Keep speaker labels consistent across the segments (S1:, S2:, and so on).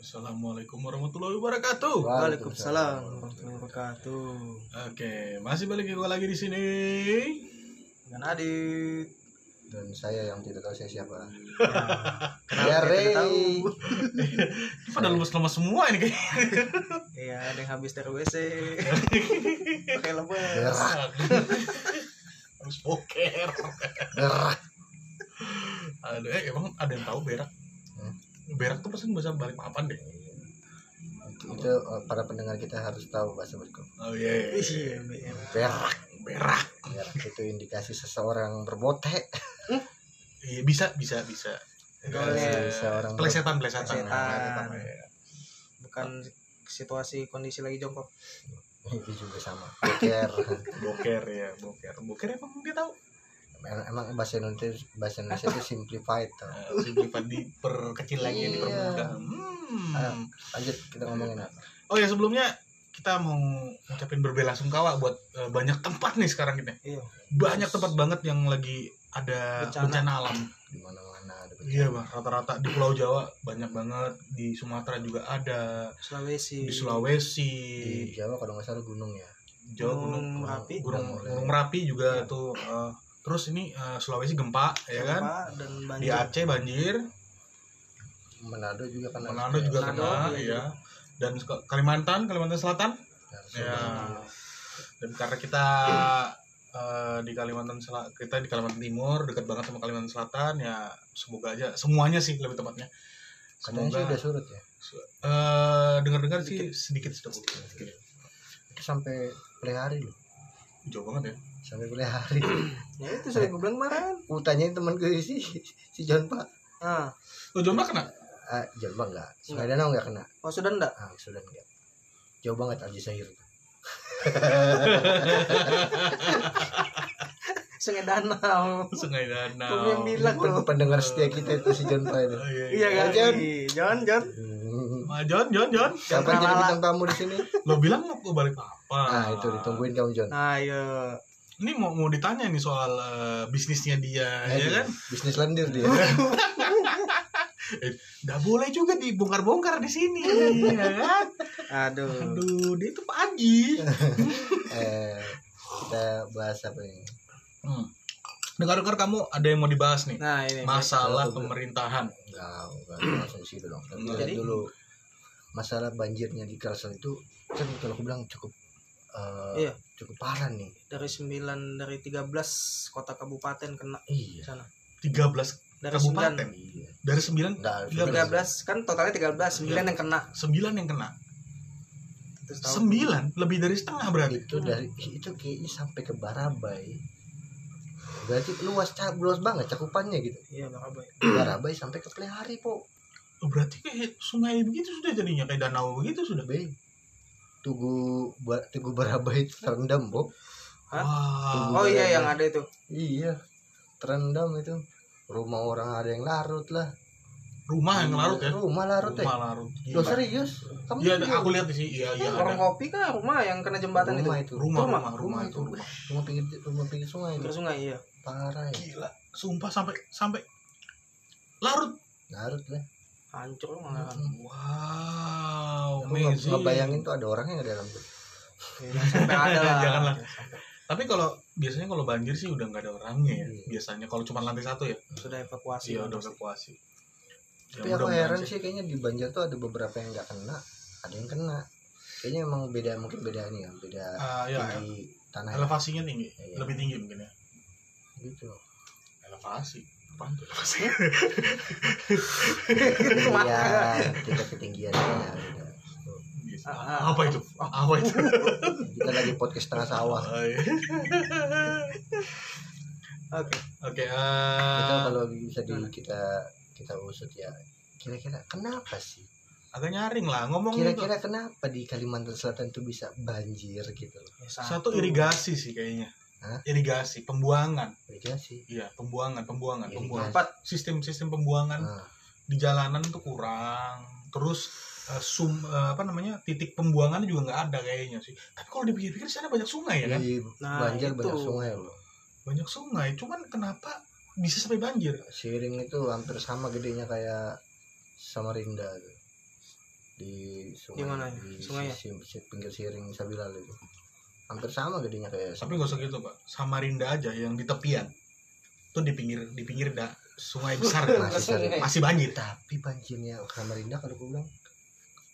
S1: Assalamualaikum warahmatullahi wabarakatuh.
S2: Waalaikumsalam warahmatullahi wabarakatuh.
S1: Oke, masih balik gue lagi di sini.
S2: Dengan Adit.
S3: dan saya yang tidak tahu saya siapa
S2: Kenapa
S3: ya
S2: kita
S3: Ray
S2: tahu?
S1: Pada lemes-lemes semua ini kayaknya.
S2: Iya, ada yang habis dari WC. Pakai lebar.
S3: Berak,
S1: Harus boker.
S3: berak.
S1: Aduh, eh, emang ada yang tahu berak?
S3: Hmm.
S1: Berak tuh pasti bahasa balik papan deh.
S3: itu eh, para pendengar kita harus tahu bahasa berikut
S1: Oh iya.
S2: Iya, BM.
S3: berak
S1: Berak.
S3: berak itu indikasi seseorang berbotek
S1: Iya, bisa, bisa, bisa. Nah,
S2: Boleh.
S1: Eh,
S3: Seorang
S1: Pelesetan, pelesetan.
S2: Pelesetan. Bukan situasi kondisi lagi jongkok.
S3: itu juga sama boker
S1: Boker ya, boker. Boker emang dia tahu.
S3: Em- emang bahasa Indonesia bahasa Indonesia itu simplified tuh.
S1: Nah, Simplified diperkecil lagi,
S3: Iya.
S1: dipermudah. Hmm.
S3: Ah. lanjut kita ngomongin apa
S1: Oh ya sebelumnya kita mau ngucapin berbela-sungkawa buat eh, banyak tempat nih sekarang kita.
S2: Iya.
S1: Banyak tempat banget yang lagi ada bencana,
S2: Bencana.
S1: alam.
S3: di mana mana ada bencana.
S1: Iya bang, rata-rata di Pulau Jawa banyak banget, di Sumatera juga ada,
S2: Sulawesi.
S1: di Sulawesi,
S3: di Jawa kalau nggak salah gunung ya
S1: Jawa
S2: Gunung
S1: Gunung
S2: Merapi. Iya.
S1: Gunung,
S3: Udah mulai.
S1: Gunung Merapi juga tuh. eh, terus ini eh, Sulawesi gempa, ya kan?
S2: Gempa dan banjir.
S1: Di Aceh banjir,
S3: Manado juga kan
S1: Manado juga
S2: Manado,
S1: kena,
S2: iya.
S1: ya. Dan ke- Kalimantan, Kalimantan Selatan Ya. Dan karena kita eh, di Kalimantan Selatan, kita di Kalimantan Timur, dekat banget sama Kalimantan Selatan, ya semoga aja semuanya sih lebih tepatnya.
S3: katanya sih
S1: Semoga
S3: udah surut ya
S1: eh dengar-dengar sih sedikit sedikit, sedikit.
S3: itu sampai pelihari loh
S1: Jauh banget ya.
S3: sampai pelihari
S2: Ya itu sudah gue bilang kemarin.
S3: Gua tanyain temen gue si si John Pak
S2: Ah,
S1: Oh, Jombang kena?
S3: ah, John Pak enggak Sungai Danau enggak kena
S2: oh sudah enggak?
S3: ah sudah enggak jauh banget Alji Sahir
S2: Sungai Danau.
S1: Sungai
S2: Gue yang
S1: Danau.
S2: bilang
S3: Pun
S2: tuh.
S3: pendengar setia kita itu si John Pak itu
S1: Oh, iya, iya.
S2: Iya kan?
S3: Jon.
S2: Ih, Jon, Jon.
S3: Hmm.
S1: Ah, Jon, Jon, Jon.
S3: kapan jadi
S2: Ralala.
S3: bintang tamu di sini
S1: Lo bilang mau ke balik apa?
S3: nah itu ditungguin kamu John
S2: Ah, Nah, Ayo.
S1: Ini mau mau ditanya nih soal eh, bisnisnya dia,
S3: Eh,
S1: ya
S3: dia,
S1: kan?
S3: bisnis lendir dia
S1: Nggak boleh juga dibongkar-bongkar di sini, ya kan?
S2: Aduh.
S1: Aduh, dia itu Pak Aji.
S3: eh kita bahas apa ini
S1: Hmm. Dengar-dengar kamu ada yang mau dibahas nih
S2: Nah, ini.
S1: masalah
S3: Betul.
S1: pemerintahan.
S3: enggak enggak langsung ke situ dong Tapi
S1: Enggak.
S3: lihat
S2: Jadi?
S3: dulu masalah banjirnya di Kalsel itu kan kalau aku bilang cukup eh,
S2: Iya.
S3: cukup parah nih
S2: dari 9 dari 13 kota kabupaten kena di
S3: iya
S2: sana.
S1: 13
S2: Dari
S1: kabupaten.
S3: iya
S1: Dari 9
S3: enggak
S2: 9
S1: 13.
S2: 13 kan totalnya 13, 9
S1: Iya.
S2: yang kena.
S1: 9 yang kena.
S2: Terus tahu.
S1: 9 lebih dari setengah berarti.
S3: itu dari itu kayaknya sampai ke Barabai berarti luas ca- luas banget cakupannya gitu
S2: Iya, Bang Abai.
S3: Barabai sampai ke Plehari po
S1: Oh, Berarti kayak sungai begitu sudah jadinya kayak danau begitu sudah.
S3: Be. tugu Ba- tugu Barabai itu terendam po
S2: Hah?
S1: Wah.
S2: Oh iya yang ada itu.
S3: iya terendam itu rumah orang ada yang larut lah
S1: Rumah yang larut ya.
S3: rumah larut ya
S1: Rumah larut. Gila.
S3: Lo serius? Kamu
S1: Iya,
S3: serius?
S1: aku lihat sih. Iya, iya
S2: Orang
S1: ada.
S2: kopi kah rumah yang kena jembatan
S3: rumah
S2: itu?
S3: itu.
S1: Rumah, rumah, rumah,
S3: rumah
S1: itu rumah.
S3: Rumah pinggir rumah pinggir sungai itu.
S2: Ke sungai iya.
S3: Parah ya.
S1: Gila, sumpah sampai sampai larut.
S3: Larut lah. Iya.
S2: Hancur malah.
S1: Wow,
S3: Aku nggak- nggak
S1: Nah, amazing.
S3: bayangin tuh ada orangnya nggak dalam tuh.
S2: Sampai ada lah.
S1: Janganlah. Tapi kalau biasanya kalau banjir sih udah nggak ada orangnya ya.
S3: Iya.
S1: Biasanya kalau cuma lantai satu ya,
S2: Sudah evakuasi.
S1: iya udah
S2: Pasti.
S1: evakuasi. Ya,
S3: Tapi aku
S1: mudah-mudahan
S3: heran sih kayaknya di Banjar tuh ada beberapa yang nggak kena, ada yang kena. Kayaknya emang beda mungkin beda ini ya, beda
S1: Ah, ya,
S3: tinggi tanah ya.
S1: elevasinya tinggi,
S3: Iya.
S1: lebih tinggi mungkin ya.
S3: gitu.
S1: Elevasi. Apaan tuh elevasi? Iya.
S3: Ketinggian, kita Iya, ketinggian ya. beda.
S1: Biasa.
S2: Ah, ah,
S1: Apa itu? Apa itu?
S3: Kita lagi podcast tengah sawah.
S2: Oke.
S1: Oke, eh,
S3: Itu kalau bisa di kita kita usut ya. Kira-kira kenapa sih?
S1: agak nyaring lah ngomong itu.
S3: kira-kira kenapa di Kalimantan Selatan tuh bisa banjir gitu loh
S2: Ya,
S1: Satu irigasi sih kayaknya.
S3: Hah?
S1: Irigasi, pembuangan.
S3: iya sih
S1: Iya, pembuangan, pembuangan,
S3: Irigasi.
S1: pembuangan.
S2: Empat.
S1: Sistem-sistem pembuangan
S3: nah,
S1: di jalanan tuh kurang terus eh, sum eh, apa namanya titik pembuangannya juga nggak ada kayaknya sih tapi kalau dipikir-pikir sana banyak sungai ya kan
S3: di
S2: Nah,
S3: banjir
S2: itu.
S3: banyak sungai loh
S1: banyak sungai cuman kenapa bisa sampai banjir
S3: Siring itu hampir sama gedenya kayak Samarinda tuh. di sungai
S2: Di mana?
S3: di
S2: Sungai ya?
S3: sisi- si- pinggir siring Sabilal itu hampir sama gedenya kayak
S1: tapi nggak usah gitu pak Samarinda aja yang di tepian itu di pinggir di pinggir da, sungai besar
S3: Masih
S2: Langsung
S3: sering.
S2: kayak-
S1: masih banjir
S3: tapi banjirnya Samarinda kalau gue bilang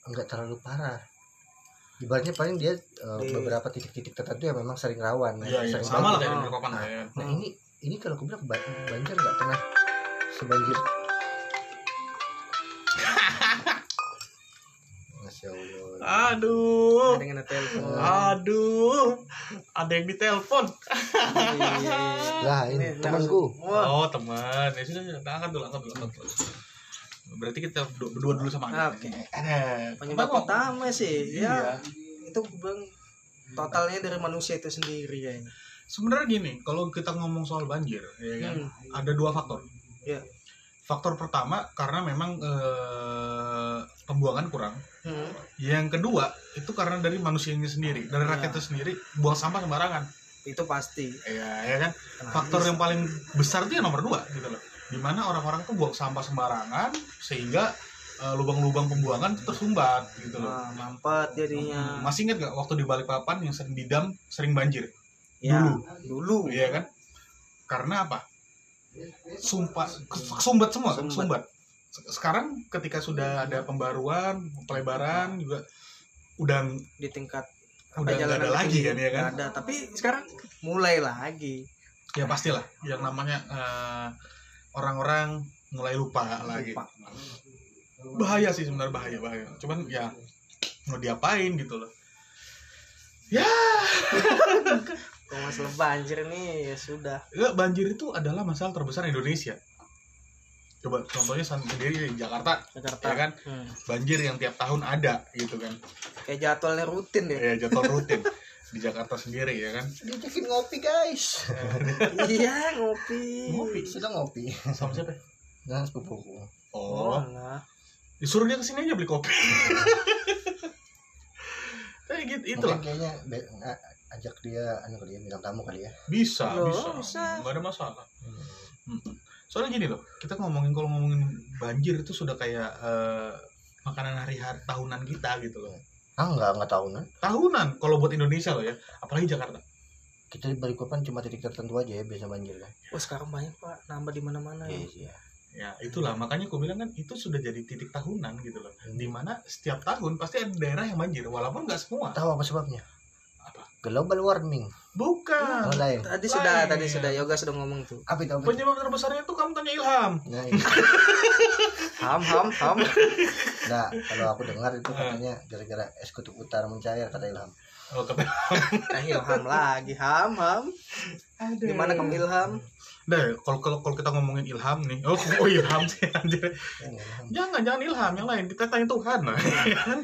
S3: nggak terlalu parah ibaratnya paling dia eh,
S2: Di-
S3: beberapa titik-titik tertentu yang memang sering rawan
S1: Iya, iya.
S3: sering
S1: sama lah
S3: banjir.
S1: kayak di Balikpapan lah ya.
S3: nah ini ini kalau gue bilang ba- banjir nggak pernah sebanjir Masya
S1: Ah,
S3: Allah
S1: Aduh,
S2: Ada yang ada telepon. Oh,
S1: aduh, ada yang ditelepon.
S2: Iya, iya.
S3: Lah ini
S2: Ini
S3: temanku
S2: Wah.
S1: Oh teman, ya sudah, sudah. angkat dulu, angkat dulu, angkat dulu. Berarti kita berdu- berdua dulu sama Anda.
S2: Oke.
S1: Ada.
S2: Penyebab
S1: Apa kok?
S2: utama sih,
S1: Iya.
S2: ya itu bang totalnya dari manusia itu sendiri ya ini.
S1: Sebenarnya gini, kalau kita ngomong soal banjir, ya kan,
S2: Hmm.
S1: ada dua faktor.
S2: Iya.
S1: Faktor pertama karena memang eh, pembuangan kurang.
S2: Hmm.
S1: Yang kedua itu karena dari manusianya sendiri, dari
S2: Iya.
S1: rakyatnya sendiri buang sampah sembarangan.
S2: Itu pasti. Nah,
S1: Iya, ya kan.
S2: Kenapa?
S1: faktor yang paling besar itu yang nomor dua gitu loh dimana orang-orang tuh buang sampah sembarangan sehingga eh, lubang-lubang pembuangan tuh tersumbat gitu loh
S2: Wah, mampet Ah, jadinya.
S1: masih ingat nggak waktu di Balikpapan yang sering didam sering banjir
S2: Ya,
S1: dulu.
S2: dulu.
S1: iya kan karena apa sumpah sumbat semua kan?
S2: Sumbat.
S1: sumbat Se- sekarang ketika sudah ada pembaruan pelebaran juga udah
S2: di tingkat
S1: udah nggak ada lagi kan ya kan
S2: Nggak ada, tapi sekarang mulai lagi.
S1: ya pastilah yang namanya eh, orang-orang mulai lupa lagi
S2: Lupa.
S1: bahaya sih sebenarnya bahaya bahaya cuman ya mau diapain gitu loh ya
S2: Kalau masalah banjir nih ya sudah.
S1: ya, banjir itu adalah masalah terbesar Indonesia coba contohnya sendiri di Jakarta
S2: Jakarta.
S1: ya kan
S2: Hmm.
S1: banjir yang tiap tahun ada gitu kan
S2: Kayak jadwalnya rutin deh.
S1: ya jadwal rutin di Jakarta sendiri ya kan
S3: diajakin ngopi guys
S2: iya, ngopi.
S1: Ngopi.
S3: sudah ngopi
S1: sama siapa ya?
S3: dengan sepupuku
S1: oh
S2: Oh, lah.
S1: disuruh dia kesini aja beli kopi kayak gitu itulah
S3: Mungkin kayaknya be- a- ajak dia anu kali ya bintang tamu kali ya
S1: bisa
S2: Loh,
S1: bisa
S2: bisa.
S1: nggak ada masalah Mm-mm. soalnya gini loh kita ngomongin kalau ngomongin banjir itu sudah kayak eh, makanan hari-hari tahunan kita gitu loh
S3: ah nggak nggak tahunan
S1: tahunan kalau buat Indonesia loh ya apalagi Jakarta
S3: kita di Balikpapan cuma titik tertentu aja ya biasa banjir kan
S2: Oh, sekarang banyak Pak, nambah di mana-mana ya.
S3: iya
S1: ya itulah makanya aku bilang kan itu sudah jadi titik tahunan gitu loh dimana setiap tahun pasti ada daerah yang banjir walaupun nggak semua
S3: tahu apa sebabnya
S1: Apa?
S3: global warming
S1: bukan
S3: oh, lain
S2: Tadi
S1: Lain.
S2: sudah, tadi sudah yoga sudah ngomong tuh.
S3: apa itu apa itu?
S1: penyebab terbesarnya itu kamu tanya Ilham
S3: nah, iya.
S2: Ham ham ham.
S3: Nah, kalau aku dengar itu katanya gara-gara es kutub utara mencair kata Ilham
S1: oh, kata
S2: Nah, ilham lagi, ham ham. Gimana kamu ilham?
S1: Nah, kalau kalau kalau kita ngomongin Ilham nih, oh, oh Ilham sih anjir.
S3: Ya, nggak, Ilham.
S1: Jangan jangan Ilham yang lain, kita tanya Tuhan nah. lah.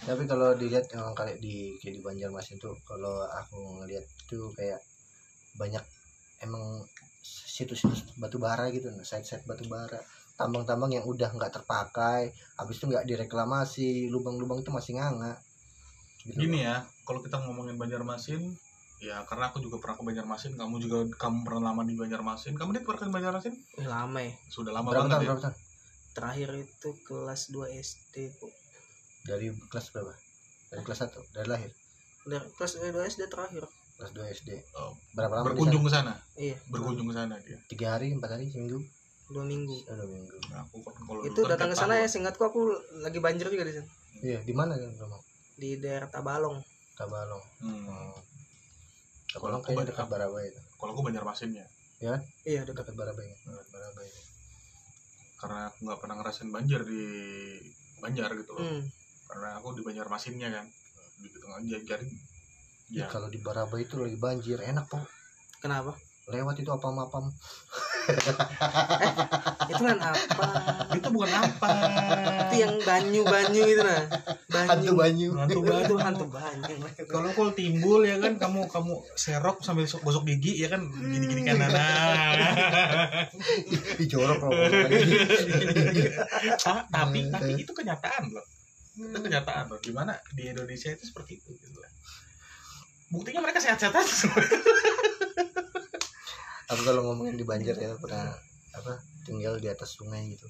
S3: tapi kalau dilihat emang kayak di kayak di Banjarmasin tuh kalau aku ngelihat tuh kayak banyak emang situs-situs batu bara gitu nah site-site batu bara tambang-tambang yang udah nggak terpakai habis itu nggak direklamasi lubang-lubang itu masih nganga gitu.
S1: Gini ya, kalau kita ngomongin Banjarmasin, ya karena aku juga pernah ke Banjarmasin, kamu juga kamu pernah lama di Banjarmasin, kamu dia pernah ke Banjarmasin?
S2: Ih, lama ya.
S1: Sudah lama
S3: berapa tahun
S1: banget ya.
S3: berapa tahun
S2: Terakhir itu kelas 2 SD, Bu.
S3: dari kelas berapa dari kelas 1 dari lahir
S2: Dari kelas 2 SD terakhir.
S3: kelas 2 SD
S1: Oh,
S3: berapa lama di
S1: Berkunjung ke sana,
S2: Iya,
S1: berkunjung ke sana dia.
S3: sana? tiga hari empat hari seminggu
S2: 2 minggu.
S3: udah minggu
S1: Nah, aku kan kalau
S2: Itu datang ke sana ya, singkatku aku lagi banjir juga di sana.
S3: iya di mana kan rumah
S2: Di daerah Tabalong.
S3: Tabalong
S1: Hmm,
S3: oh.
S1: Kalau
S3: Tabalong
S1: aku
S3: kayaknya
S1: Banjar-
S3: dekat Barabai itu
S1: kalau aku ya, Banjarmasinnya,
S2: Iya, dekat.
S3: dekat Barabai dekat Barabai
S1: karena aku nggak pernah ngerasain banjir di Banjar gitu loh.
S2: Hmm.
S1: Karena aku di Banjarmasinnya kan. Di tengah jadi
S3: Ya.
S1: ya
S3: Kalau di Barabai itu lagi banjir, enak kok.
S2: Kenapa?
S3: Lewat itu apam-apam.
S2: Itu kan apa?
S1: itu bukan apa
S2: itu yang banyu-banyu itu nah. Banyu.
S3: banyu.
S1: Hantu
S2: Wah, Itu hantu banyu.
S1: kalau kol timbul ya kan kamu kamu serok sambil so- gosok gigi ya kan gini gini kan
S2: Hmm.
S1: nah
S3: Dijorok loh.
S1: Ta- tapi
S2: Gitu.
S1: tapi itu kenyataan loh itu
S2: Hmm.
S1: kenyataan loh gimana di Indonesia itu seperti itu gitu lah buktinya mereka sehat-sehat aja semua.
S3: Aku kalau ngomongin di banjir ya pernah apa? Di tinggal di atas sungai gitu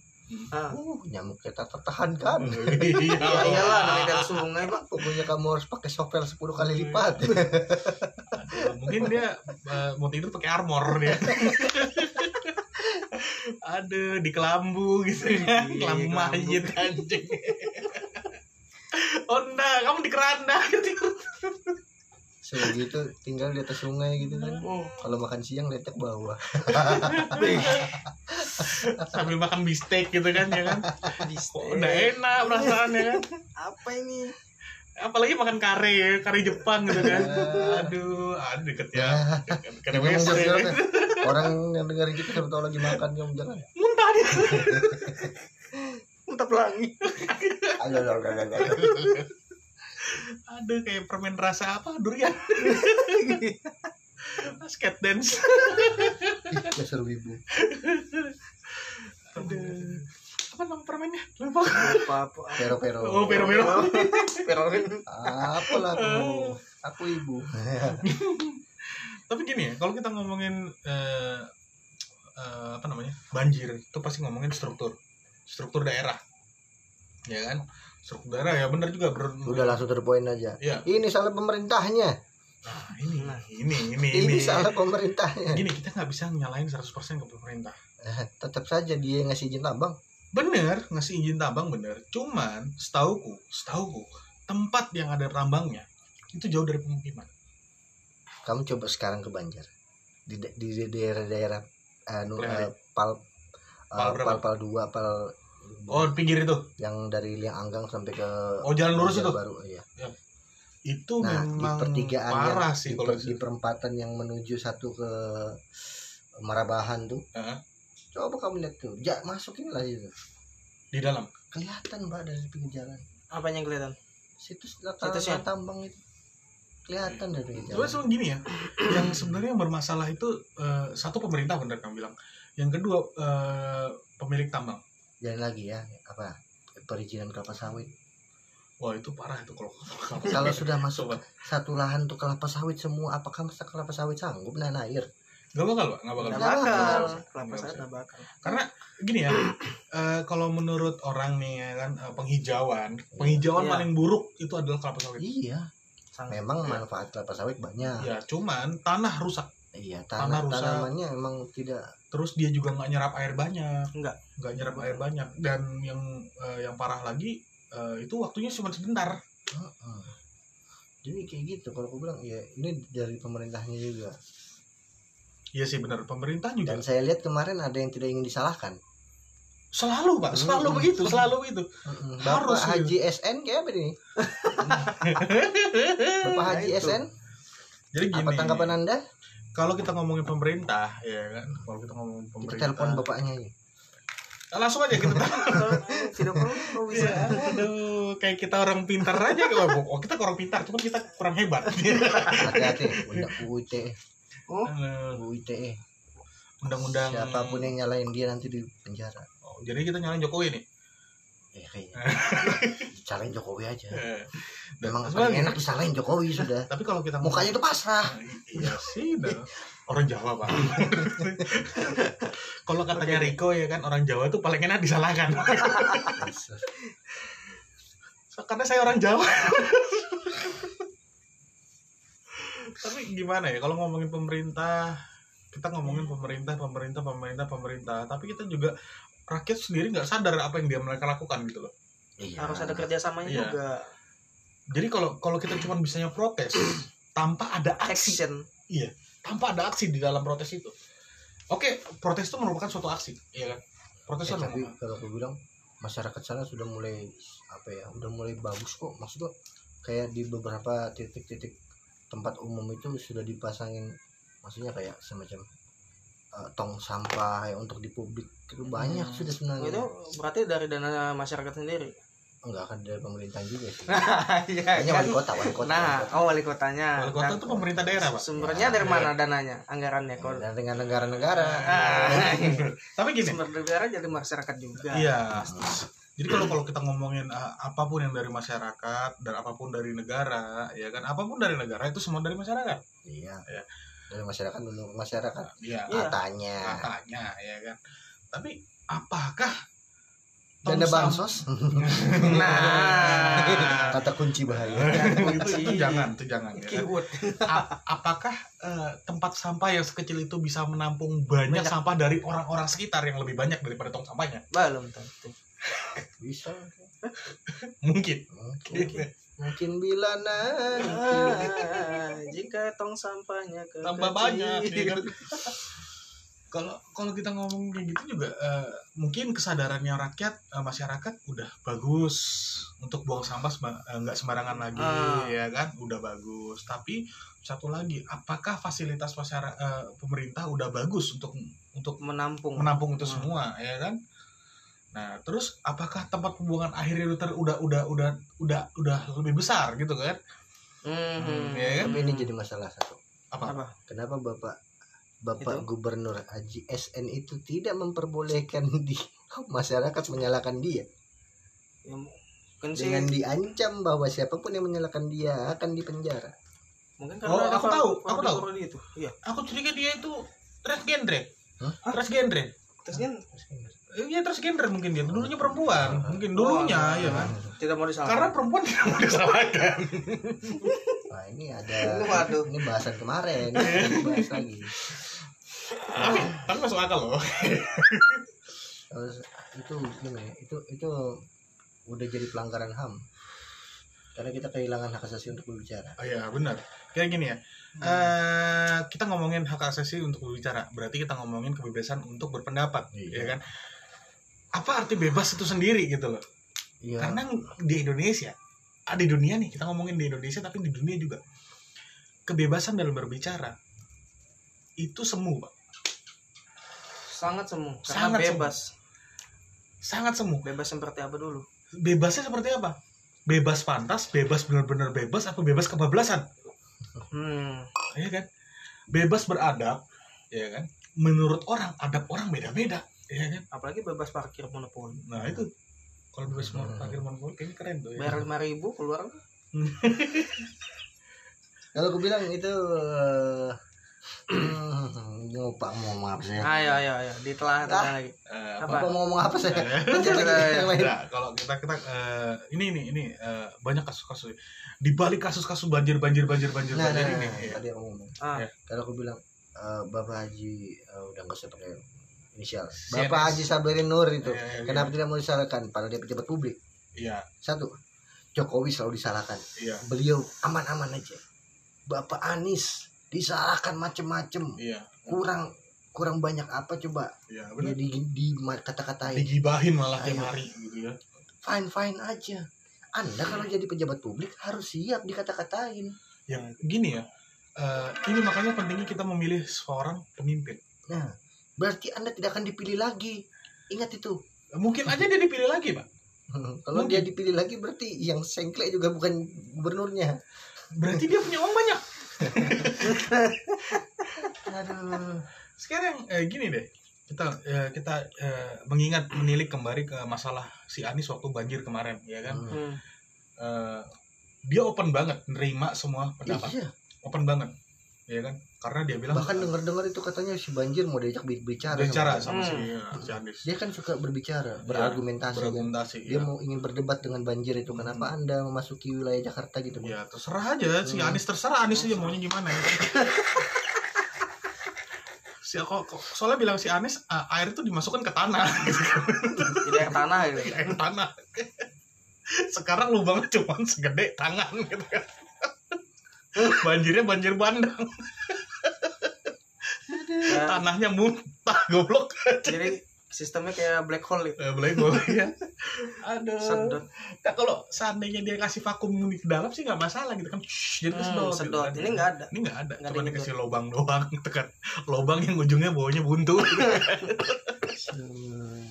S2: Ah.
S3: uh nyamuk kita tertahankan
S2: Iya
S1: Iya
S2: iyalah namanya dari sungai bang.
S3: pokoknya kamu harus pakai shovel 10 kali lipat
S1: Mungkin dia eh, mau tidur pakai armor dia. Aduh, di kelambu gitu kan.
S2: Iya,
S1: Kelambu
S2: kelambu.
S1: mayit anjing. Onda, kamu di keranda gitu.
S3: Sudah gitu tinggal di atas sungai gitu kan
S1: Oh,
S3: kalau makan siang letek bawah
S1: sambil makan bistek gitu kan ya kan. Kok
S2: Bistek.
S1: udah enak perasaannya kan.
S2: Apa ini?
S1: Apalagi makan kare, ya, kare Jepang gitu kan. Aduh, aduh deket ya. Deket kan?
S3: Jangan
S1: WC.
S3: jawab-jawab ya. orang yang dengerin kita siapa tahu lagi makan kamu jangan
S1: Muntah dia.
S2: Muntah pelangi.
S3: ayo ayo, ayo, ayo, ayo.
S1: Aduh, kayak permen rasa apa? Durian. Basket dance.
S3: Ih, ya dasar wibu
S1: Aduh. Apa nama permennya? Lupa.
S2: Apa apa?
S3: pero pero
S1: Oh, pero-pero.
S2: Peroin.
S3: apalah aku aku ibu Iya,
S1: Tapi gini ya, kalau kita ngomongin eh, eh, apa namanya? banjir, itu pasti ngomongin struktur. Struktur daerah. Ya kan? Struktur daerah ya benar juga ber
S3: udah langsung terpoin aja
S1: Iya.
S3: ini salah pemerintahnya
S1: Nah, ini, ini, ini, ini.
S3: ini salah pemerintahnya
S1: Gini, kita nggak bisa nyalain 100% ke pemerintah.
S3: Eh, tetap saja dia yang ngasih izin tambang
S1: Bener, ngasih izin tambang bener. Cuman, setauku, setauku, tempat yang ada tambangnya, itu jauh dari pemukiman.
S3: kamu coba sekarang ke Banjar di da- di di daerah-daerah anu
S1: Lele.
S3: eh, pal
S1: Pal
S3: eh,
S1: berapa?
S3: pal pal dua pal
S1: Oh, pinggir itu.
S3: yang dari Liang Anggang sampai ke
S1: Oh, jalan lurus itu.
S3: Banjar baru ya
S1: Itu
S3: nah di
S1: memang
S3: pertigaan
S1: parah
S3: yang-
S1: sih
S3: di,
S1: kalau
S3: per- di perempatan yang menuju satu ke Marabahan tuh
S1: Heeh.
S3: coba kamu lihat tuh ja, masukin lah itu
S1: di dalam.
S3: kelihatan mbak dari pinggir jalan
S2: Apanya yang kelihatan?
S3: situs latar
S2: Situsnya?
S3: tambang itu kelihatan dari pinggir
S1: Cuma
S3: jalan
S1: cuma gini ya, yang sebenarnya yang bermasalah itu eh, satu pemerintah bener kamu bilang, yang kedua eh, pemilik tambang.
S3: dan lagi ya apa perizinan kelapa sawit
S1: Wah itu parah itu kalau
S3: kalau sudah masuk
S1: sobat
S3: satu lahan untuk kelapa sawit semua apakah masa kelapa sawit sanggup nahan air
S1: nggak bakal pak, nggak bakal.
S2: Nggak
S3: Nggak bakal.
S2: bakal. Kelapa
S1: Nggak
S2: sawit
S1: bakal.
S2: nggak bakal.
S1: Karena gini ya, eh, kalau menurut orang nih ya kan eh, penghijauan, penghijauan
S2: Iya.
S1: paling buruk itu adalah kelapa sawit.
S3: iya
S2: Sangat.
S3: memang manfaat kelapa sawit banyak
S1: Ya cuman tanah rusak,
S3: iya
S1: Tanah
S3: tanah
S1: rusak.
S3: tanamannya emang tidak
S1: terus dia juga nggak nyerap air banyak.
S2: Nggak.
S1: Nggak nyerap air banyak dan yang eh, yang parah lagi eh, itu waktunya cuma sebentar.
S3: Heeh. jadi kayak gitu kalau aku bilang ya ini dari pemerintahnya juga
S1: Iya sih benar, pemerintah juga
S3: dan saya lihat kemarin ada yang tidak ingin disalahkan
S1: selalu pak selalu
S3: Hmm.
S1: begitu selalu begitu
S3: Mm-mm.
S1: Harus, gitu.
S3: bapak Haji SN kayak apa ini bapak Haji
S2: itu.
S3: SN
S1: jadi gini
S3: apa tanggapan anda
S1: kalau kita ngomongin pemerintah ya kan kalau kita ngomongin
S3: kita
S1: pemerintah
S3: telepon bapaknya aja
S1: Ah, langsung aja kita
S2: Tidak perlu. Kau
S1: Iya,
S2: bisa.
S1: aduh kayak kita orang pintar aja Wah, oh, kita orang pintar cuman kita kurang hebat
S3: hati-hati undang UITE
S1: Eh,
S3: UITE
S1: undang-undang
S3: siapapun yang nyalain dia nanti di penjara
S1: Oh, jadi kita nyalain Jokowi nih
S3: ya kayaknya salahin Jokowi aja
S1: Eh, dan
S3: memang
S1: sebagainya.
S3: paling enak disalahin Jokowi sudah
S1: tapi kalau kita ngomong-
S3: mukanya itu pasrah
S1: Iya sih, dah. orang Jawa pak. Kalau katanya Riko ya kan orang Jawa itu paling enak disalahkan. So, karena saya orang Jawa. Tapi gimana ya kalau ngomongin pemerintah, kita ngomongin pemerintah, pemerintah, pemerintah, pemerintah. Tapi kita juga rakyat sendiri nggak sadar apa yang dia mereka lakukan gitu loh.
S3: Iya.
S2: Harus ada kerjasamanya
S1: Iya.
S2: juga.
S1: Jadi kalau kalau kita cuma bisanya protes tanpa ada aksi,
S2: Action.
S1: tanpa ada aksi di dalam protes itu. Oke, protes itu merupakan suatu aksi, iya kan? Protes itu
S3: Eh, tapi
S1: merupakan-
S3: kalau aku bilang masyarakat sana sudah mulai apa ya udah mulai bagus kok maksud gua kayak di beberapa titik-titik tempat umum itu sudah dipasangin maksudnya kayak semacam eh, tong sampah yang untuk di publik itu banyak
S1: Hmm.
S3: sudah sebenarnya
S2: Itu berarti dari dana masyarakat sendiri.
S3: enggak akan dari pemerintah juga sih
S2: Iya.
S3: hanya
S2: kan?
S3: wali kota wali kota
S2: Nah, oh wali kotanya.
S1: Wali kota
S2: Nah,
S1: itu pemerintah daerah, Pak. Iya.
S2: Sumbernya dari mana dananya? Anggarannya
S3: wali kota.
S2: kalau
S3: dan dengan negara-negara
S1: Eh.
S2: Ah,
S1: Tapi gini,
S2: sumber negara jadi masyarakat juga.
S1: Iya. Jadi kalau kalau kita ngomongin uh, apapun yang dari masyarakat dan apapun dari negara, ya kan apapun dari negara itu semua dari masyarakat.
S3: iya
S1: Iya.
S3: dari masyarakat menurut masyarakat
S1: Iya.
S2: Iya.
S3: katanya
S1: Katanya, ya kan. tapi apakah
S3: Dana
S1: Tom Sam-
S3: bansos
S1: Iya.
S2: Nah,
S3: kata kunci bahaya.
S1: itu, itu
S2: Iya.
S1: jangan itu jangan ya.
S2: keyword.
S1: A- apakah eh, tempat sampah yang sekecil itu bisa menampung banyak,
S2: Banyak.
S1: sampah dari orang-orang sekitar yang lebih banyak daripada tong sampahnya?
S2: Belum tentu.
S3: Bisa.
S1: Mungkin.
S3: Mungkin, mungkin bila nanti
S2: Ah, jika tong sampahnya ke
S1: Tambah banyak. ya kan? Kalau kalau kita ngomong kayak gitu juga eh, mungkin kesadarannya rakyat eh, masyarakat udah bagus untuk buang sampah semba- eh, nggak sembarangan lagi
S2: Ah.
S1: ya kan udah bagus tapi satu lagi apakah fasilitas masyarakat pemerintah udah bagus untuk untuk
S2: menampung
S1: menampung itu
S2: Hmm.
S1: semua ya kan nah terus apakah tempat pembuangan akhirnya udah ter- udah udah udah udah udah lebih besar gitu kan
S2: Mhm.
S1: Iya kan?
S3: Tapi ini jadi masalah satu.
S1: apa
S2: apa
S3: Kenapa Bapak Bapak
S2: Itu?
S3: Gubernur Haji SN itu tidak memperbolehkan di masyarakat menyalahkan dia
S2: Ya, mungkin sih
S3: dengan diancam bahwa siapapun yang menyalahkan dia akan dipenjara.
S2: mungkin
S1: Oh,
S2: karena ada
S1: aku
S2: fa-
S1: tahu, aku
S2: faktor
S1: tahu.
S2: dia itu iya
S1: aku curiga dia itu transgender
S3: Hah?
S1: transgender
S2: terus kan
S1: Eh, iya transgender mungkin dia dulunya perempuan mungkin dulunya
S2: Oh,
S1: ya kan
S2: tidak mau disalahkan
S1: karena perempuan tidak mau disalahkan
S3: Nah, ini ada
S2: Waduh.
S3: ini bahasan kemarin, ini bahas lagi.
S1: tapi tapi masuk akal loh
S3: Terus itu gimana ya? Itu itu udah jadi pelanggaran HAM. Karena kita kehilangan hak asasi untuk berbicara.
S1: oh, iya benar kayak gini ya Eh kita ngomongin hak asasi untuk berbicara berarti kita ngomongin kebebasan untuk berpendapat ya kan apa arti bebas itu sendiri gitu loh
S3: Iya.
S1: karena di Indonesia ah, di dunia nih kita ngomongin di Indonesia tapi di dunia juga kebebasan dalam berbicara itu semu pak
S2: sangat semu karena
S1: Sangat semu.
S2: bebas
S1: sangat semu
S2: bebas seperti apa dulu
S1: bebasnya seperti apa bebas pantas bebas benar-benar bebas apa bebas kebablasan
S2: hmm
S1: ya kan bebas beradab ya kan menurut orang adab orang beda-beda ya kan
S2: apalagi bebas parkir monopoli
S1: nah itu kalau bebas mau parkir monopoli kayaknya keren tuh ya.
S2: bayar lima ribu keluar
S3: Kalau aku bilang itu eh, lupa mau maaf saya.
S2: ayo ayo ayo ditelah telah lagi
S1: Eh,
S2: Apa?
S3: Bapak mau ngomong apa saya? Lanjut lagi
S2: Iya,
S3: yang lain.
S1: Nah, kalau kita kita eh, ini ini ini eh, banyak kasus-kasus di balik kasus-kasus banjir banjir banjir banjir
S3: Nah, nah,
S1: banjir ini.
S3: nah,
S1: ya.
S3: tadi aku ngomong.
S2: ah
S1: Ya.
S3: Kalau aku bilang eh, Bapak Haji eh, udah nggak usah pakai inisial.
S1: CNS.
S3: Bapak Haji Sabarin Nur itu.
S1: Iya, iya,
S3: Kenapa tidak mau disalahkan? Padahal dia pejabat publik.
S1: Iya,
S3: Satu, Jokowi selalu disalahkan.
S1: iya,
S3: Beliau aman-aman aja. Bapak Anies disalahkan macem-macem.
S1: iya,
S3: Kurang kurang banyak apa coba
S1: iya, benar.
S3: dia di, di, kata-katain
S1: Digibahin malah tiap
S3: Ayo.
S1: hari gitu ya.
S3: fine fine aja anda kalau jadi pejabat publik harus siap dikata-katain
S1: Yang gini ya. eh, ini makanya pentingnya kita memilih seorang pemimpin.
S3: nah berarti anda tidak akan dipilih lagi ingat itu
S1: Mungkin aja dia dipilih lagi, Pak.
S3: kalau dia dipilih lagi berarti yang sengklek juga bukan gubernurnya
S1: Berarti dia punya uang banyak.
S3: aduh
S1: Sekarang eh, gini deh. Kita eh, kita eh, mengingat menilik kembali ke masalah si Anies waktu banjir kemarin, ya kan?
S3: Hmm.
S2: hmm.
S1: eh, dia open banget nerima semua pendapat
S3: iya
S1: open banget ya kan karena dia bilang
S3: bahkan dengar-dengar itu katanya si banjir mau diajak bi- bicara
S1: dia bicara sama
S3: sama
S1: si
S2: Hmm.
S1: ya, si Anies
S3: dia. dia kan suka berbicara berargumentasi kan?
S1: berargumentasi
S3: dia
S1: ya.
S3: mau ingin berdebat dengan banjir itu kenapa anda memasuki wilayah Jakarta gitu
S1: ya terserah aja si
S3: Hmm.
S1: Anies terserah Anies aja maunya gimana ya si kok kok- soalnya bilang si Anies "Ah, air itu dimasukkan ke tanah gitu kan.
S2: jadi air tanah gitu
S1: air tanah sekarang lubangnya cuma segede tangan gitu kan banjirnya banjir bandang
S3: Iya.
S2: Ya,
S1: tanahnya muntah goblok
S2: jadi sistemnya kayak black hole gitu
S1: Eh, boleh boleh ya. Aduh.
S2: sedot
S1: Nah, kalau seandainya dia kasih vakum di dalam sih nggak masalah gitu kan. Shhh, jadi kesedot.
S2: Hmm,
S1: gitu
S2: sedot
S1: kan.
S2: ini nggak ada
S1: Ini nggak ada.
S2: Nggak ada
S1: Cuma
S2: yang
S1: dikasih lubang doang gitu kan. Lubang yang ujungnya bawahnya buntu.
S3: Hmm.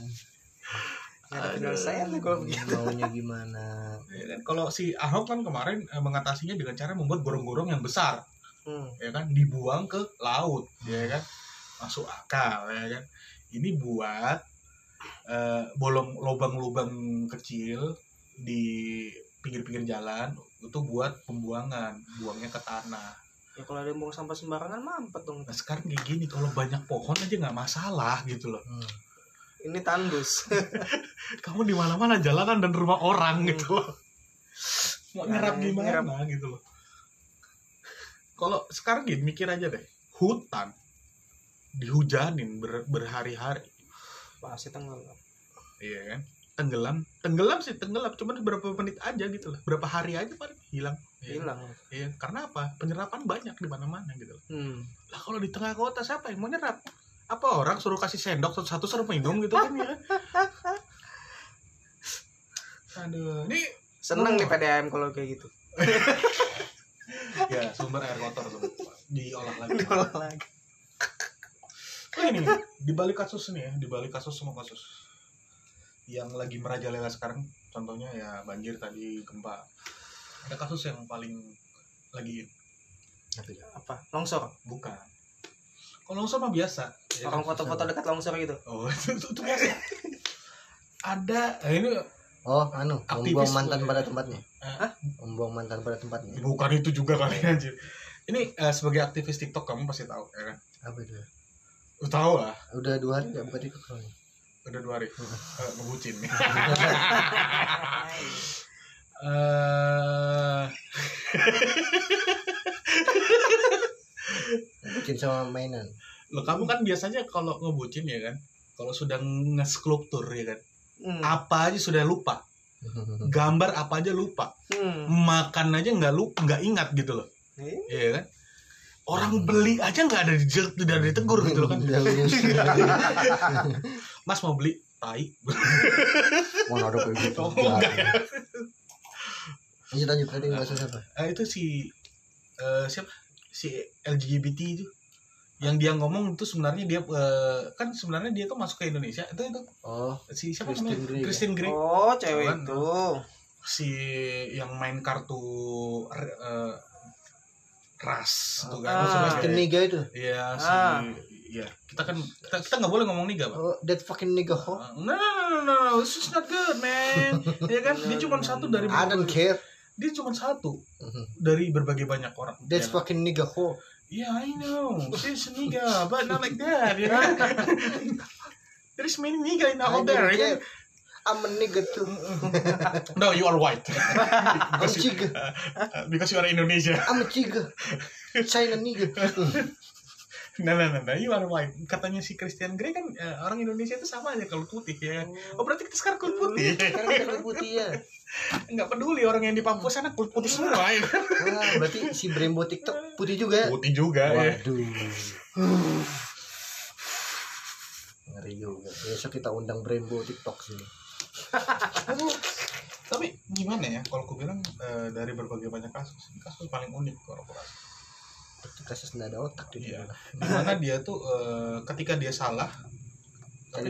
S2: nggak ada penyelesaian nih kalau begini
S3: maunya gimana
S1: Ya kan? kalau si Ahok kan kemarin eh, mengatasinya dengan cara membuat gorong-gorong yang besar,
S2: hmm.
S1: ya kan, dibuang ke laut, ya kan, masuk akal, ya kan. Ini buat eh, bolong lubang-lubang kecil di pinggir-pinggir jalan itu buat pembuangan, buangnya ke tanah.
S2: ya kalau ada yang buang sampah sembarangan mampet dong
S1: Nah sekarang kayak gini kalau banyak pohon aja nggak masalah gitu loh.
S3: Hmm.
S2: ini tandus
S1: kamu di mana mana jalanan dan rumah orang
S2: Hmm.
S1: gitu loh mau
S2: Nah,
S1: nyerap gimana
S2: nyerap.
S1: gitu loh kalau sekarang gini mikir aja deh hutan dihujanin ber- berhari-hari
S2: pasti tenggelam
S1: iya kan tenggelam tenggelam sih tenggelam cuman berapa menit aja gitu loh berapa hari aja paling hilang Iya.
S2: hilang
S1: Iya, karena apa penyerapan banyak di mana-mana gitu loh
S2: hmm.
S1: lah kalau di tengah kota siapa yang mau nyerap apa orang suruh kasih sendok satu-satu suruh minum gitu kan ya aduh ini
S2: seneng
S1: Hmm.
S2: nih PDAM kalau kayak gitu
S1: ya sumber air kotor tuh diolah lagi
S2: diolah lagi
S1: oh, ini nih, di balik kasus nih ya di balik kasus semua kasus yang lagi merajalela sekarang contohnya ya banjir tadi gempa ada kasus yang paling lagi
S3: Apa itu?
S2: apa longsor
S1: bukan kalau longsor mah biasa ya kan?
S2: orang foto-foto dekat longsor gitu
S1: oh itu, itu, itu biasa ada eh, ini
S3: Oh, anu,
S1: Aktivis Ah.
S3: membuang mantan
S1: boleh.
S3: pada tempatnya.
S1: Hah?
S3: Membuang mantan pada tempatnya.
S1: bukan itu juga kali anjir ini eh, sebagai aktivis TikTok kamu pasti tahu ya kan
S3: Apa itu?
S1: Lu tahu lah
S3: Udah dua hari nggak buka TikTok soalnya.
S1: udah dua hari Eh, ngebucin
S2: Hai.
S1: eh
S3: Bikin sama mainan.
S1: lo kamu kan biasanya kalau ngebucin ya kan kalau sudah ngeskulptur ya kan
S2: hmm.
S1: apa aja sudah lupa gambar apa aja lupa
S2: Hmm.
S1: makan aja nggak lu nggak ingat gitu loh
S2: Nih,
S1: iya kan orang beli aja nggak ada di tidak ada ditegur gitu loh kan
S3: Udah lulus.
S1: mas mau beli tai
S3: Mau nodok kayak gitu.
S1: Oh, enggak ya.
S3: Lanjut lanjut tadi bahas apa?
S1: Ah, itu si eh, siapa si LGBT itu yang dia ngomong itu sebenarnya dia eh, kan sebenarnya dia tuh masuk ke Indonesia itu itu
S3: Oh,
S1: si siapa
S3: Kristen
S1: namanya
S3: Grey, ya?
S1: Kristen Grey
S2: oh cewek
S1: Apaan?
S2: itu
S1: si yang main kartu r- eh, ras tuh kan
S2: Ah.
S1: maksudnya
S3: Kristen
S1: kayak-
S3: Niga itu.
S1: iya si
S2: Ah.
S1: iya kita kan kita kita nggak boleh ngomong niga pak Ah,
S3: Oh, that fucking nigga ho.
S1: No, no, no, no, no, this is not good, man. Iya kan? Dia cuma satu dari
S3: I don't care.
S1: dia cuma satu dari berbagai banyak orang.
S3: That
S1: Ya.
S3: fucking nigga ho.
S1: Yeah, I know. There's a nigga, but not like that, you know. There's many nigga in
S3: I
S1: out
S3: don't
S1: there. you
S3: care. I'm a nigga too.
S1: know. No, you are white.
S3: I'm a
S1: because, you,
S3: chiga.
S1: uh, because you are Indonesia.
S3: I'm a chiga. China nigga.
S1: Nah, nah, nah, nah, you are white. Katanya si Christian Grey kan eh, orang Indonesia itu sama aja kalau putih ya. Oh berarti kita sekarang kulit putih. ya kan?
S3: Sekarang kita putih ya.
S1: Nggak peduli orang yang di Papua sana kulit putih semua. ya.
S3: Wah, berarti si Brembo TikTok putih juga ya?
S1: Putih juga ya.
S3: Waduh. Ngeri juga. Besok kita undang Brembo TikTok sini.
S1: Tapi, tapi gimana ya kalau aku bilang eh, dari berbagai banyak kasus, ini kasus paling unik korporasi.
S3: Itu kasus nggak ada otak di
S1: Iya.
S3: sana.
S1: dimana dia tuh eh, ketika dia salah
S3: Cari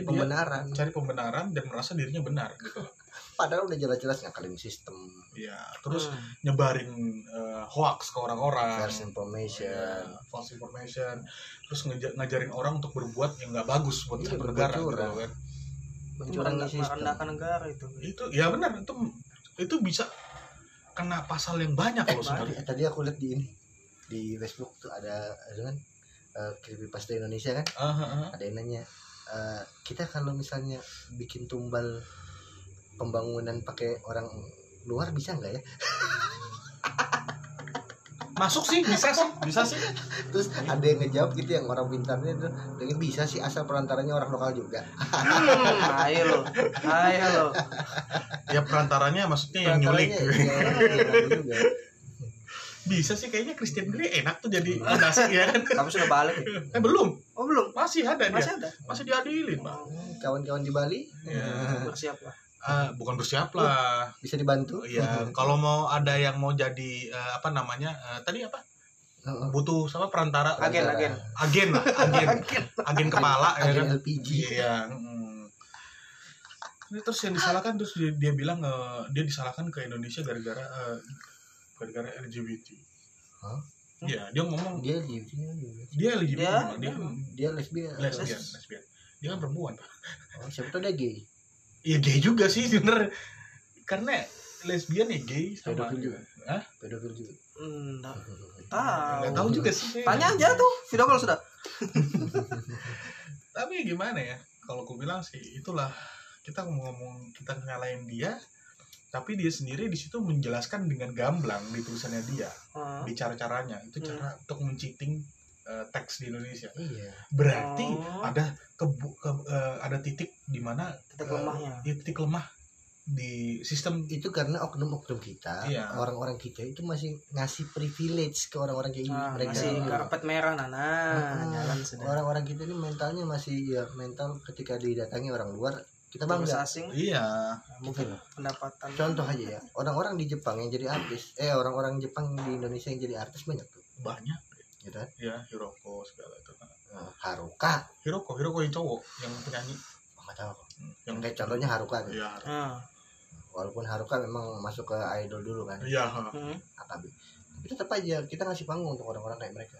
S1: tapi dia
S3: pembenaran.
S1: cari pembenaran dan merasa dirinya benar gitu loh.
S3: Padahal udah jelas-jelas ngakalin sistem,
S1: ya terus
S2: Hmm.
S1: nyebarin eh, hoax ke orang-orang
S3: false
S1: Ya,
S3: information.
S1: false information terus ngeja- ngajarin orang untuk berbuat yang nggak bagus buat
S3: Iya,
S1: satu
S3: berbuat
S1: negara gitu
S3: curang.
S1: loh kan.
S2: Itu
S3: Mencurangi
S2: merendah-
S3: sistem.
S2: merendahkan negara itu
S1: itu ya benar itu itu bisa kena pasal yang banyak loh
S3: Tadi,
S1: sebenarnya
S3: eh, tadi aku lihat di ini di Facebook tuh ada ada kan eh, creepypasta Indonesia kan
S1: Ah, ah, ah.
S3: ada yang nanya eh, kita kalau misalnya bikin tumbal pembangunan pakai orang luar bisa nggak ya
S1: masuk sih bisa sih bisa sih
S3: terus ada yang ngejawab gitu yang orang pintarnya tuh pengen bisa sih asal perantaranya orang lokal juga
S2: Hmm, ayo lo ayo lo
S1: ya perantaranya maksudnya yang nyulik
S3: perantaranya ya, orang lokal juga.
S1: bisa sih kayaknya Christian Grey enak tuh jadi nasi ya kan
S2: kamu sudah balik ya?
S1: eh belum
S2: oh belum
S1: masih ada dia
S2: masih ada
S1: masih diadilin pak
S3: kawan-kawan di Bali
S1: ya.
S2: bersiap lah
S1: Ah, bukan bersiap lah
S3: bisa dibantu
S1: ya kalau mau ada yang mau jadi eh, apa namanya eh, tadi apa
S3: Heeh.
S1: butuh sama perantara
S2: agen
S3: Perantara.
S2: agen
S1: agen lah agen agen kepala ya kan
S3: agen LPG
S1: iya mm. Ini terus yang disalahkan terus dia, dia bilang eh, dia disalahkan ke Indonesia gara-gara eh, gara-gara LGBT
S3: Hah?
S1: Iya, dia ngomong
S3: dia di-
S1: dia LGBT
S2: Dia-
S1: memang. dia, kan
S3: dia lesbian
S1: lesbian, lesbian. Dia kan perempuan. Pak.
S3: oh, siapa tuh dia gay
S1: Iya gay juga sih sebenernya karena lesbian ya gay sama
S3: Pedofil juga.
S1: Hah?
S3: pedofil juga
S2: hmm, nggak
S1: nggak
S2: tahu
S1: tahu juga sih
S2: tanya aja tuh video call sudah
S1: tapi gimana ya kalau aku bilang sih itulah kita ngomong kita nyalain dia tapi dia sendiri di situ menjelaskan dengan gamblang di tulisannya dia
S2: Oh.
S1: di cara caranya itu
S2: Hmm.
S1: cara untuk menciting eh, teks di Indonesia
S3: iya
S1: berarti
S2: Oh.
S1: ada kebu- ke- eh, ada titik di mana
S2: titik
S1: eh,
S2: lemahnya
S1: ya, titik lemah di sistem
S3: itu karena oknum-oknum kita
S1: Iya.
S3: orang-orang kita itu masih ngasih privilege ke orang-orang kayak
S2: Ah,
S3: mereka
S2: masih
S3: gitu.
S2: karpet merah nana
S3: Ah,
S2: jalan sudah
S3: orang-orang kita ini mentalnya masih ya mental ketika didatangi orang luar kita bangga
S2: asing
S1: iya
S3: mungkin
S2: pendapatan
S3: contoh aja ya orang-orang di Jepang yang jadi artis eh orang-orang Jepang di Indonesia yang jadi artis banyak tuh
S1: banyak
S3: gitu kan
S1: ya Hiroko segala itu
S3: Nah, Haruka
S1: Hiroko Hiroko yang cowok yang penyanyi
S3: Oh, nggak tahu aku.
S1: yang
S3: kayak contohnya Haruka tuh.
S1: iya
S2: ah
S3: walaupun Haruka memang masuk ke idol dulu kan
S1: iya
S2: hmm.
S3: AKB tapi tetap aja kita ngasih panggung untuk orang-orang kayak mereka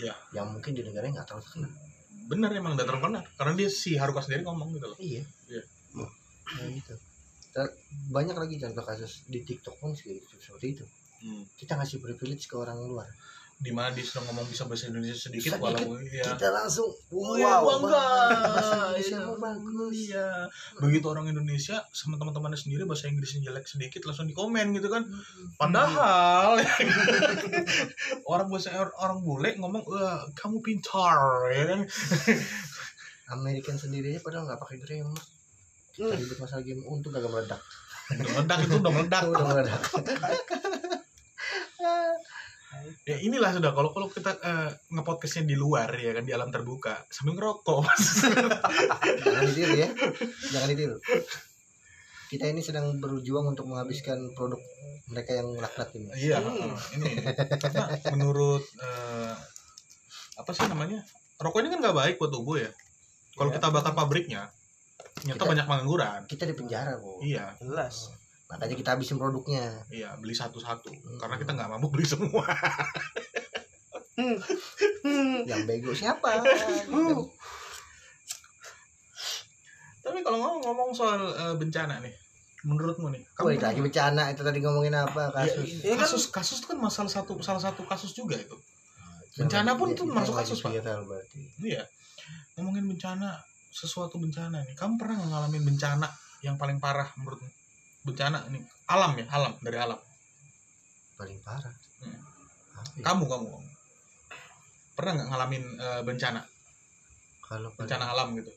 S1: Iya.
S3: yang mungkin di negaranya nggak terlalu terkenal
S1: bener emang datang benar karena dia si Haruka sendiri ngomong gitu loh
S3: iya
S1: Iya.
S3: Nah, gitu Ter- banyak lagi contoh kasus di TikTok pun seperti seperti itu
S1: hmm.
S3: kita ngasih privilege ke orang luar
S1: di mana dia sudah ngomong bisa bahasa Indonesia sedikit,
S3: Sedikit.
S1: walau ya
S3: kita langsung wow,
S1: Wah, iya, bangga.
S3: bahasa Indonesia
S1: Iya.
S3: mau bagus
S1: Iya. Begitu orang Indonesia sama teman-temannya sendiri bahasa Inggrisnya jelek sedikit langsung dikomen gitu kan. Padahal orang bahasa orang bule ngomong "Wah, kamu pintar ya kan.
S3: American sendirinya padahal nggak pakai grammar
S1: Hmm.
S3: kita ribut masalah game untung kagak meledak
S1: Udah meledak itu udah meledak.
S3: udah meledak
S1: Ya inilah sudah kalau kalau kita eh, ngepodcastnya di luar ya kan di alam terbuka sambil ngerokok.
S3: jangan ditiru ya jangan ditiru kita ini sedang berjuang untuk menghabiskan produk mereka yang laknat ini
S1: Iya,
S2: Hmm.
S1: ini karena menurut eh, apa sih namanya rokok ini kan nggak baik buat tubuh ya. Kalau
S2: Iya.
S1: kita bakar pabriknya, ternyata
S3: Kita-
S1: banyak pengangguran.
S3: kita di penjara bu
S1: Iya,
S2: jelas
S3: makanya kita habisin produknya
S1: iya beli satu-satu
S3: Hmm.
S1: karena kita nggak mampu beli semua.
S2: hmm.
S3: yang bego siapa
S2: Hmm.
S1: Tapi kalau ngomong, ngomong soal eh, bencana nih, menurutmu nih,
S3: kamu
S1: kamu
S3: lagi bencana itu tadi ngomongin apa kasus
S1: Ya, kasus kasus itu kan masalah satu salah satu kasus juga itu. Bencana pun tuh
S3: Iya, Yang
S1: masuk
S3: lagi
S1: kasus, Pak.
S3: viral berarti.
S1: Iya. Ngomongin bencana, sesuatu bencana nih. Kamu pernah ngalamin bencana yang paling parah menurutmu? Bencana ini alam ya, alam dari alam.
S3: paling parah
S1: Hmm.
S3: Apa ya?
S1: Kamu kamu, kamu. pernah nggak ngalamin eh, bencana
S3: kalau
S1: bencana
S3: bencana
S1: alam gitu?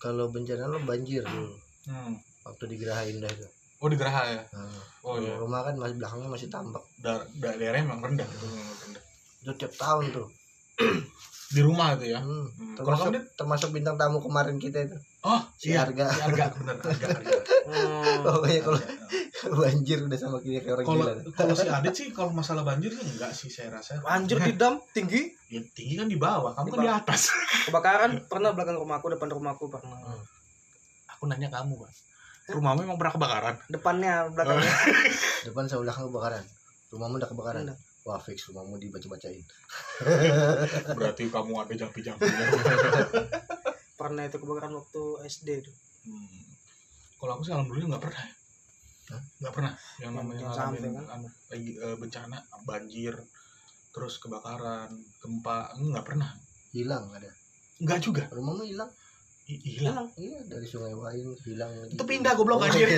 S3: kalau bencana lo banjir dulu
S1: Hmm.
S3: waktu di Geraha Indah itu
S1: Oh di Geraha ya?
S3: Nah,
S1: Oh iya.
S3: rumah kan masih belakangnya masih tambak
S1: Da- da- daerahnya memang rendah gitu. memang rendah.
S3: itu tiap tahun tuh
S1: Di rumah itu ya?
S3: Hmm.
S1: Hmm. Kalau
S3: termasuk
S1: kamu Dit?
S3: termasuk bintang tamu kemarin kita itu
S1: oh
S3: si
S1: iya.
S3: harga
S1: Si Iya, harga bener harga. harga.
S2: Hmm.
S3: pokoknya kalau
S1: Harga.
S3: banjir udah sama kita kayak orang
S1: Kalau
S3: gila
S1: kalau si Adit sih kalau masalah banjir sih enggak sih saya rasa. Kan
S2: Anjir di dam tinggi
S1: Ya, tinggi kan di bawah, kamu
S2: Di
S1: kan di atas.
S2: kebakaran pernah belakang rumahku depan rumahku pernah
S1: Aku nanya kamu, Bang. Rumahmu emang pernah kebakaran?
S2: depannya belakangnya
S3: depan sama belakang kebakaran rumahmu udah kebakaran
S1: Iya.
S2: Udah.
S3: wah fix rumahmu dibaca-bacain
S1: Berarti kamu ada jampi-jampinya.
S2: pernah itu kebakaran waktu SD tuh
S1: hmm. Kalau aku sih alhamdulillah nggak pernah. ya.
S3: Hah?
S1: Nggak pernah. Yang
S2: Yang
S1: namanya
S2: yang
S1: ngalamin
S2: sampai, kan?
S1: anu, lagi, eh, bencana, banjir, terus kebakaran, gempa, nggak pernah.
S3: hilang ada
S1: Nggak juga. Oh,
S3: rumahmu hilang
S1: I- Hilang.
S3: iya dari sungai Wain hilang Oh, iya,
S1: Itu pindah, goblok, anjir.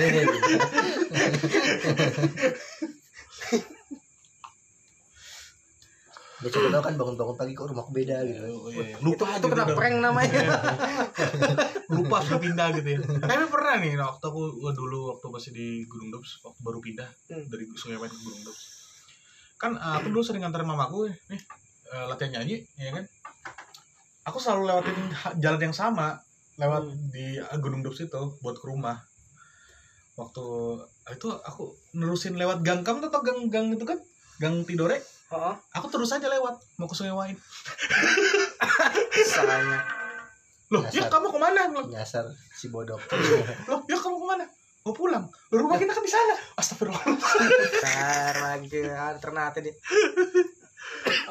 S3: Udah coba tau kan bangun-bangun pagi kok rumahku beda gitu kan.
S1: Oh, iya. Lupa Iya.
S2: itu
S1: gitu
S2: kena
S1: udah.
S2: prank namanya
S1: lupa sudah pindah gitu ya tapi pernah nih nah, waktu aku eh, dulu waktu masih di Gunung Dops waktu baru pindah
S2: Hmm.
S1: dari Sungai Wain ke Gunung Dops kan eh, aku dulu sering nganterin mamaku nih eh, latihan nyanyi ya kan aku selalu lewatin ha- jalan yang sama lewat di eh, Gunung Dops itu buat ke rumah waktu eh, itu aku nerusin lewat gang kamu tuh tau gang-gang itu kan gang Tidore
S2: oh
S1: aku terus aja lewat mau ke Sungai Wain
S2: salahnya
S1: loh ya
S3: Dasar.
S1: kamu kemana Aku bilang,
S3: Nyasar si bodok.
S1: loh ya kamu kemana mau pulang Loh, rumah kita kan di sana astagfirullah
S2: Bentar lagi Ah, alternate dia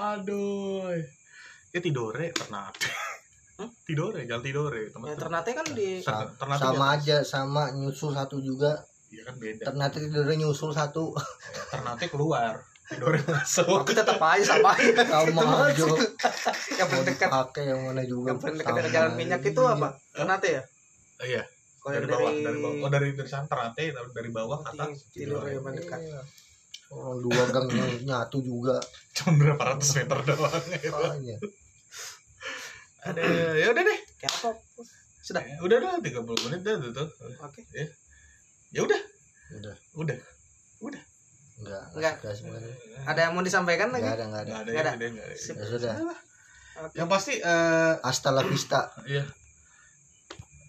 S1: aduh ya tidore ternate
S2: Hmm?
S1: tidore jalan tidore teman
S2: ya, ternate kan di
S1: Ter- ternate
S3: sama aja sama nyusul satu juga
S1: ya kan beda
S3: ternyata tidurnya nyusul satu
S1: ternate keluar Dore masuk.
S2: Tapi tetap aja sama aja.
S3: Sama
S2: Tetap aja.
S3: aja.
S2: yang paling dekat
S3: pakai yang mana juga
S2: yang paling dekat
S3: sama gitu.
S2: dari jalan minyak itu apa? Ternate ya?
S1: Oh, iya,
S2: Kalau
S1: dari
S2: yang
S1: bawah, dari bawah. Oh, dari dari sana terate, tapi dari bawah ke atas.
S2: tidur yang
S3: Iya.
S2: paling dekat.
S3: orang dua gang yang nyatu juga
S1: Cuma berapa ratus meter doang.
S2: Iya.
S1: gitu.
S3: Makanya.
S2: Ada
S1: Eh, ya udah deh.
S2: kayak apa? Sudah.
S1: Ya, Udah udah 30 menit dah tuh. tuh.
S2: Oke.
S1: Ya udah,
S3: udah
S1: udah.
S3: enggak
S2: Enggak.
S3: enggak semuanya
S2: Ada yang mau disampaikan
S3: enggak
S2: lagi?
S3: ada enggak ada
S1: Enggak ada, ya
S2: Nggak ada.
S1: udah, nggak ada.
S2: Sip.
S3: ya sudah
S2: Oke.
S1: Yang pasti eh
S3: hasta la vista
S1: iya,